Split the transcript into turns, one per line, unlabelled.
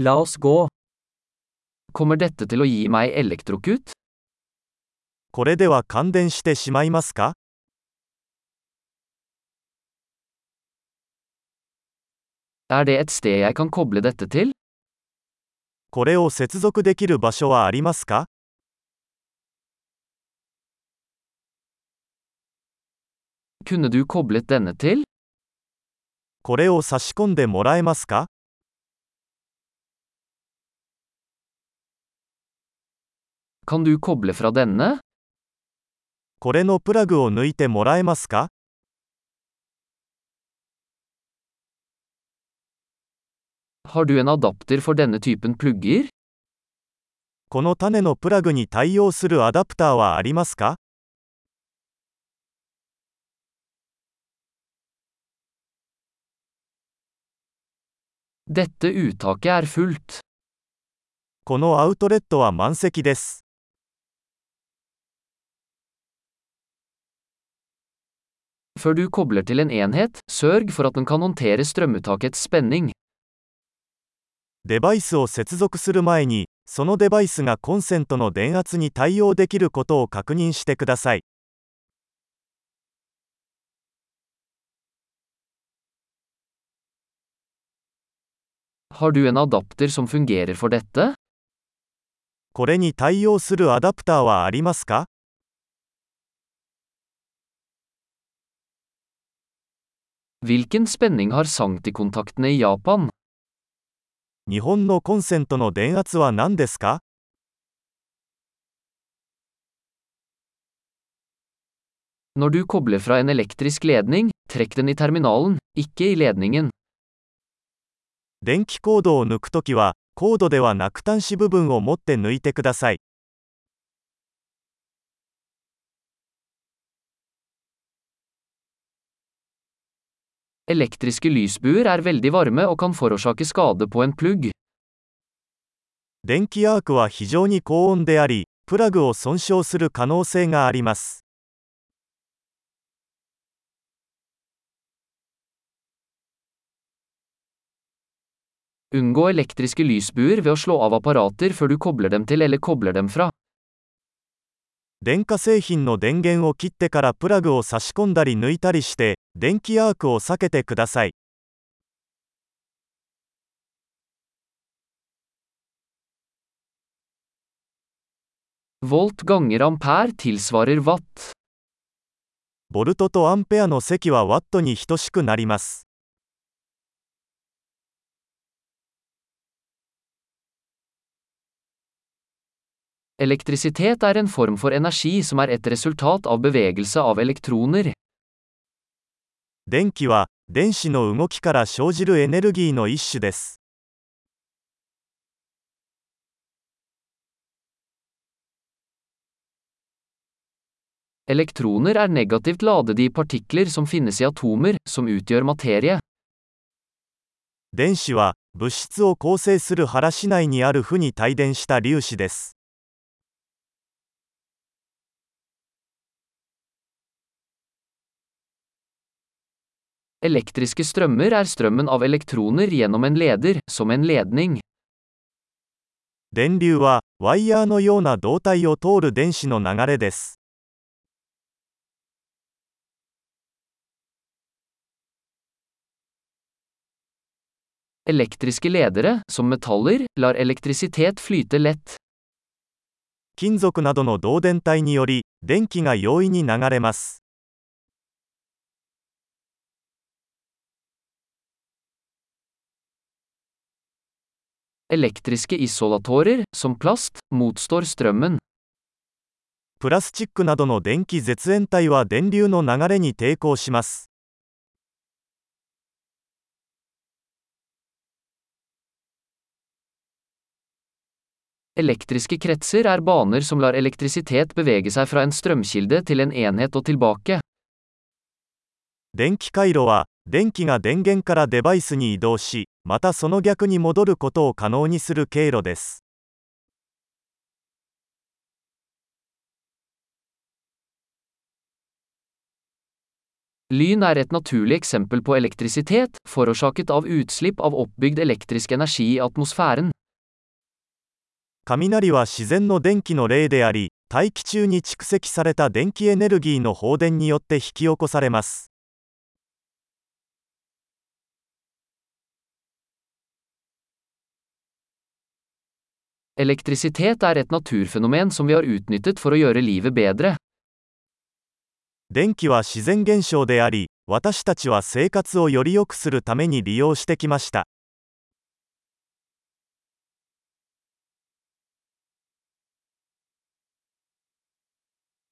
La oss gå. Kommer dette til å gi meg elektrokut?
これでは感電してしまいますか
Er det et sted jeg kan koble dette til?
これを接続できる場所はありますか
Kunne du koblet denne til?
これを差し込んでもらえますか
Kan du koble fra denne?
これのプラグを抜いてもらえますか
Har du en adapter for denne typen plugger?
この種のプラグに対応するアダプターはありますか
Dette uttaket er fullt.
このアウトレットは満席です。
Før du kobler til en enhet, sørg for at den kan håndtere strømuttakets spenning.
デバイスを接続する前に、そのデバイスがコンセントの電圧に対応できることを確認してください。
Har du en adapter som fungerer for dette?
これに対応するアダプターはありますか
Hvilken spenning har Sankti-kontaktene i Japan?
日本のコンセントの電圧は何ですか
Når du kobler fra en elektrisk ledning, trekk den i terminalen, ikke i ledningen.
電気コードを抜くときは、コードではなく端子部分を持って抜いてください。
Elektriske lysbuer er veldig varme og kan forårsake skade på en plugg.
電気アークは非常に高温であり、プラグを損傷する可能性があります。
Unngå elektriske lysbuer ved å slå av apparater før du kobler dem til eller kobler dem fra.
電化製品の電源を切ってからプラグを差し込んだり抜いたりして、電気アークを避けてください。
Volt ganger ampere tilsvarer watt.
ボルトとアンペアの積はワットに等しくなります。
Elektrisitet er en form for energi som er et resultat av bevegelse av elektroner.
電気は、電子の動きから生じるエネルギーの一種です。
Elektroner er negativt ladede i partikler som finnes i atomer, som utgjør materie.
電子は、物質を構成する原市内にある負に帯電した粒子です。
Elektriske strømmer er strømmen av elektroner gjennom en leder, som en ledning.
電流は、ワイヤーのような導体を通る電子の流れです。
Elektriske ledere, som metaller, lar elektrisitet flyte lett.
金属などの導電体により、電気が容易に流れます。
Elektriske isolatorer, som plast, motstår strømmen.
プラスチックなどの電気絶縁体は電流の流れに抵抗します。
Elektriske kretser er baner som lar elektrisitet bevege seg fra en strømkilde til en enhet og tilbake.
電気回路は、電気が電源からデバイスに移動し、またその逆に戻ることを可能にする経路です。
Lyn er et naturlig eksempel på elektrisitet, forårsaket av utslipp av oppbygd elektrisk energi i atmosfæren.
雷は自然の電気の例であり、大気中に蓄積された電気エネルギーの放電によって引き起こされます。
Elektrisitet er et naturfenomen som vi har utnyttet for å gjøre livet bedre.
電気は自然現象であり、私たちは生活をより良くするために利用してきました。